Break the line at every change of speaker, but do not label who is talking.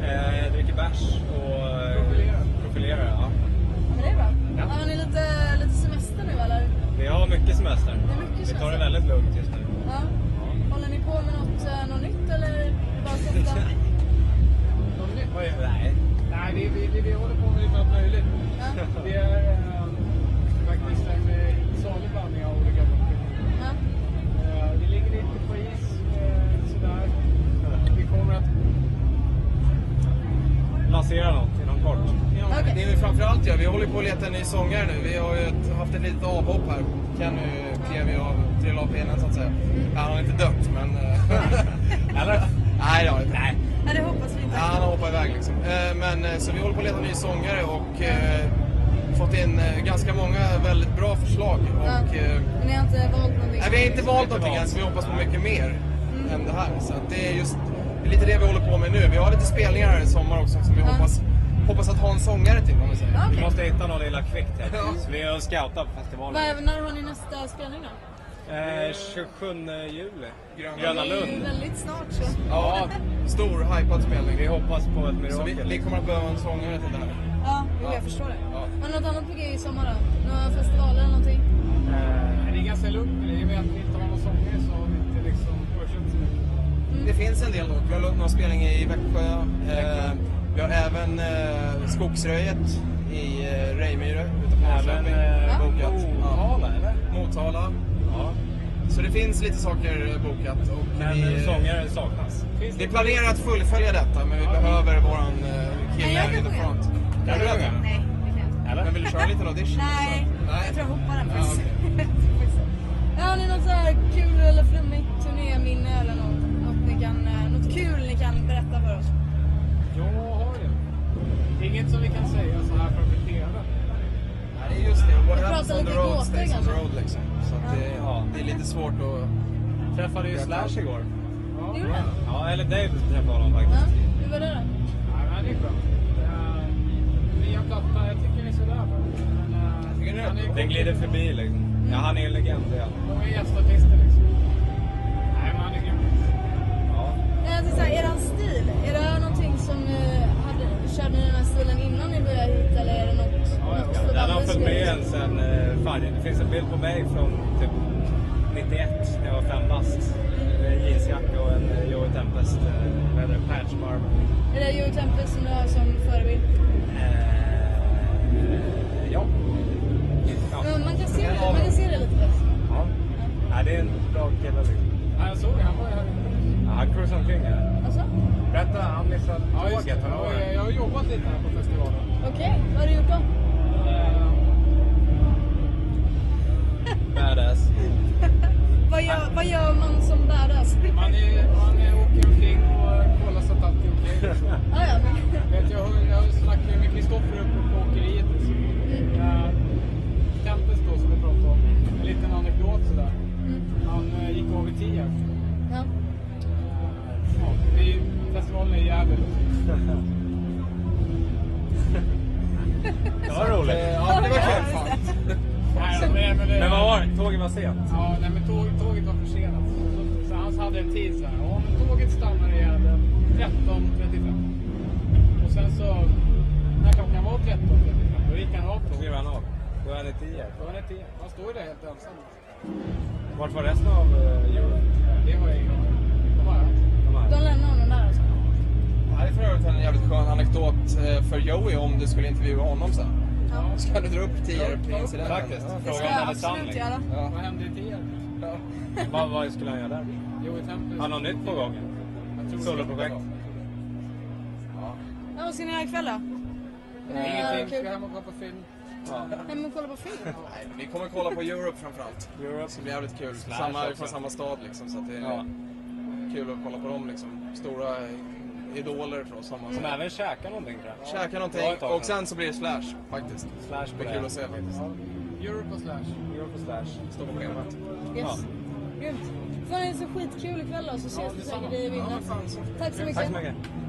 Eh, dricker bärs och eh, profilerar. Ja.
Men det är bra.
Ja.
Har ni lite, lite semester nu eller?
Vi har mycket semester.
Det är mycket
Vi tar
semester.
det väldigt lugnt just nu.
Ja. Håller ni på med något, eh, något nytt eller är det bara sånt där?
Något nytt?
Oj, Nej.
Nej, vi, vi, vi, vi håller på med lite allt möjligt.
Ja.
Det är eh, faktiskt en eh, salig blandning av olika produkter.
Ja.
Eh, det ligger lite på is, eh, sådär. Vi kommer att...
Lansera något inom kort.
Ja,
Okej.
men Det vi framförallt gör, vi håller på att leta en ny sångare nu. Vi har ju ett, haft ett litet avhopp här. Kenny klev ju av, trillade av benen så att säga. Ja, han har inte dött men... eh, Eller? Nej, det har han inte. Nej.
Nej, det hoppas vi inte.
Ja, han har hoppat iväg liksom. Eh, Men, eh, så vi håller på att leta en ny sångare och eh, fått in eh, ganska många väldigt bra förslag. Och, eh,
Men ni har inte valt någonting?
Nej, vi har inte valt
Inte
någonting
valt.
än, så vi hoppas på mycket mer än det här. Så att det är just det är lite det vi håller på med nu. Vi har lite spelningar här i sommar också som vi
Ja.
hoppas, hoppas att ha en sångare till, om vi säger.
Ja,
Vi
Okej.
måste hitta någon lilla kvickt här.
Ja.
Så vi har scoutat på festivalen.
Vad- När har ni nästa spelning då?
Eh, 27 juli.
Gröna
Gröna
Det är ju
Lund.
väldigt snart så.
Ja, stor hypad
Vi
spelning.
hoppas på ett
Så vi,
mirakel.
vi kommer att behöva en sångare till det här.
Ja, jo,
Ja.
jag förstår det.
Ja.
Har ni något annat på g i sommar då? Några festivaler eller någonting?
Eh,
Men det är ganska lugnt i och med att vi inte har någon sångare så har vi inte liksom pushat så mycket.
Det finns en del dock. Vi har någon spelning i Växjö. Eh, vi har även eh, Skogsröjet i eh, Rejmyre utanför
Även
Norrköping.
eh,
bokat. Ja.
Motala, eller?
Motala.
Ja.
Så det finns lite saker eh, bokat. Och
Men
vi,
eh, sångare saknas.
Finns
Vi
det
planerar att fullfölja detta, men vi behöver våran eh,
Nej, jag
kille
kan
in the
sjunga.
front. Kan
Nej,
du sjunga?
det kan jag inte.
Eller?
Men vill du köra en liten audition?
Nej,
Nej.
jag tror jag hoppar den
Ja,
faktiskt. Ja, har ni något så här kul eller flummigt turnéminne eller något? Något, ni kan, eh, något kul ni kan berätta för oss?
Jag har ju. Det är inget som vi kan säga så här framför TV.
Nej, det är just det. What
Vi
happens
pratar
on the
lite gåtor
road stays on the
kanske.
road liksom. Så att det,
Ja.
det är lite svårt att...
Träffade ju
Jag
Slash
kan.
igår.
Ja,
Det gjorde den?
Ja, eller Dave träffade honom
Ja,
faktiskt.
hur var det då?
Nej, men det är skönt. Eh, Nya platta, jag tycker den är sådär. faktiskt. Men, eh,
Tycker ni
han är-
Den glider förbi liksom. Ja, han är en legend. Ja.
De är gästartister liksom. Nej, men han är grym.
Ja.
Nej, alltså, så här, er stil, är det någonting som ni hade, körde ni den här stilen innan ni började hit eller är det något, något för
Den har
alldeles
följt med
nytt?
en sen... eh, Fan, det finns en bild på mig från typ 91 när jag var fem bast. Med en jeansjacka och en eh, Joey Tempest, eh, vad heter det, patch bar.
Är det Joey Tempest som du har som förebild?
Eh, Ja. Ja.
Men man kan se det, man kan se det lite bäst.
Ja. Ja, det är en bra kille liksom.
Ja, jag såg det. Han var ju här.
Ja, han cruisar omkring här.
Alltså?
Berätta, han missade
Ja, just det.
tåget. Han
Ja, jag- Jag har jobbat lite här på festivalen.
Okej, vad har du gjort då?
Eh,
Badass.
Vad gör, vad gör man som badass?
Man, är, man är, åker omkring och kollar så att allt är okej. liksom.
Ah, ja, men-
Vet, jag, hör- jag snackade med Kristoffer uppe på åkeriet. Liksom. Eh, Tempest då som vi pratade om. En liten anekdot sådär.
mm,
Han eh, gick av i Tierp.
ja.
Eh, Ehm, Ja, vi, festivalen är i Gävle.
Det var roligt.
Eh, Ja, men det var kul.
Ja,
Fan.
Nej, då, nej, men det-
Men vad var det? Tåget var sent.
Ja, nej, men tåg, tåget var försenat. Så- Så han hade en tid så här. Ja, men tåget stannar i Gävle 13.35. Och sen så, när klockan var 13.35, då gick han av
Då
tåget.
skrev han av. Då är han i Tierp.
Då var det 10. Han står ju där helt ensam.
Vart var resten av eh, Europe?
Det var ju... Det var jag.
De här?
De lämnar honom där alltså?
Det här är för övrigt en jävligt skön anekdot eh, för Joey om du skulle intervjua honom sen.
Ja.
Ska du dra upp Tierp-incidenten?
Faktiskt.
Det ska
Fråga om
jag
han är sann,
absolut
liksom.
göra.
Ja.
Vad hände i Tierp?
Ja.
Vad, vad skulle han göra där?
Joey Tempest.
Han har nytt på gång.
Jag tror det.
Soloprojekt.
Ja.
Ja, vad ska ni göra ikväll då? Eh,
Ingenting.
kul.
Ska hem och kolla på film.
Ja.
Hem och kolla på film?
Nej, Vi kommer kolla på Europe framförallt.
Europe.
Det ska bli jävligt kul.
Slash
Samma,
också.
från samma stad liksom. Så att det är
Ja.
kul att kolla på dem liksom. Stora idoler för oss. Samma
Som
sak.
även käkar någonting tror jag.
Käka
Det var ett
någonting
tag
och sen så blir det Slash faktiskt.
Slash på
Det
det.
är kul att se faktiskt.
Europe och Slash.
Europe och Slash.
Står på schemat.
Ja.
Yes. Grymt. Fan, det är så skitkul ikväll då, så ses vi säkert i
Ja,
Vinland.
men fan, så-
Tack så mycket.
Tack så mycket.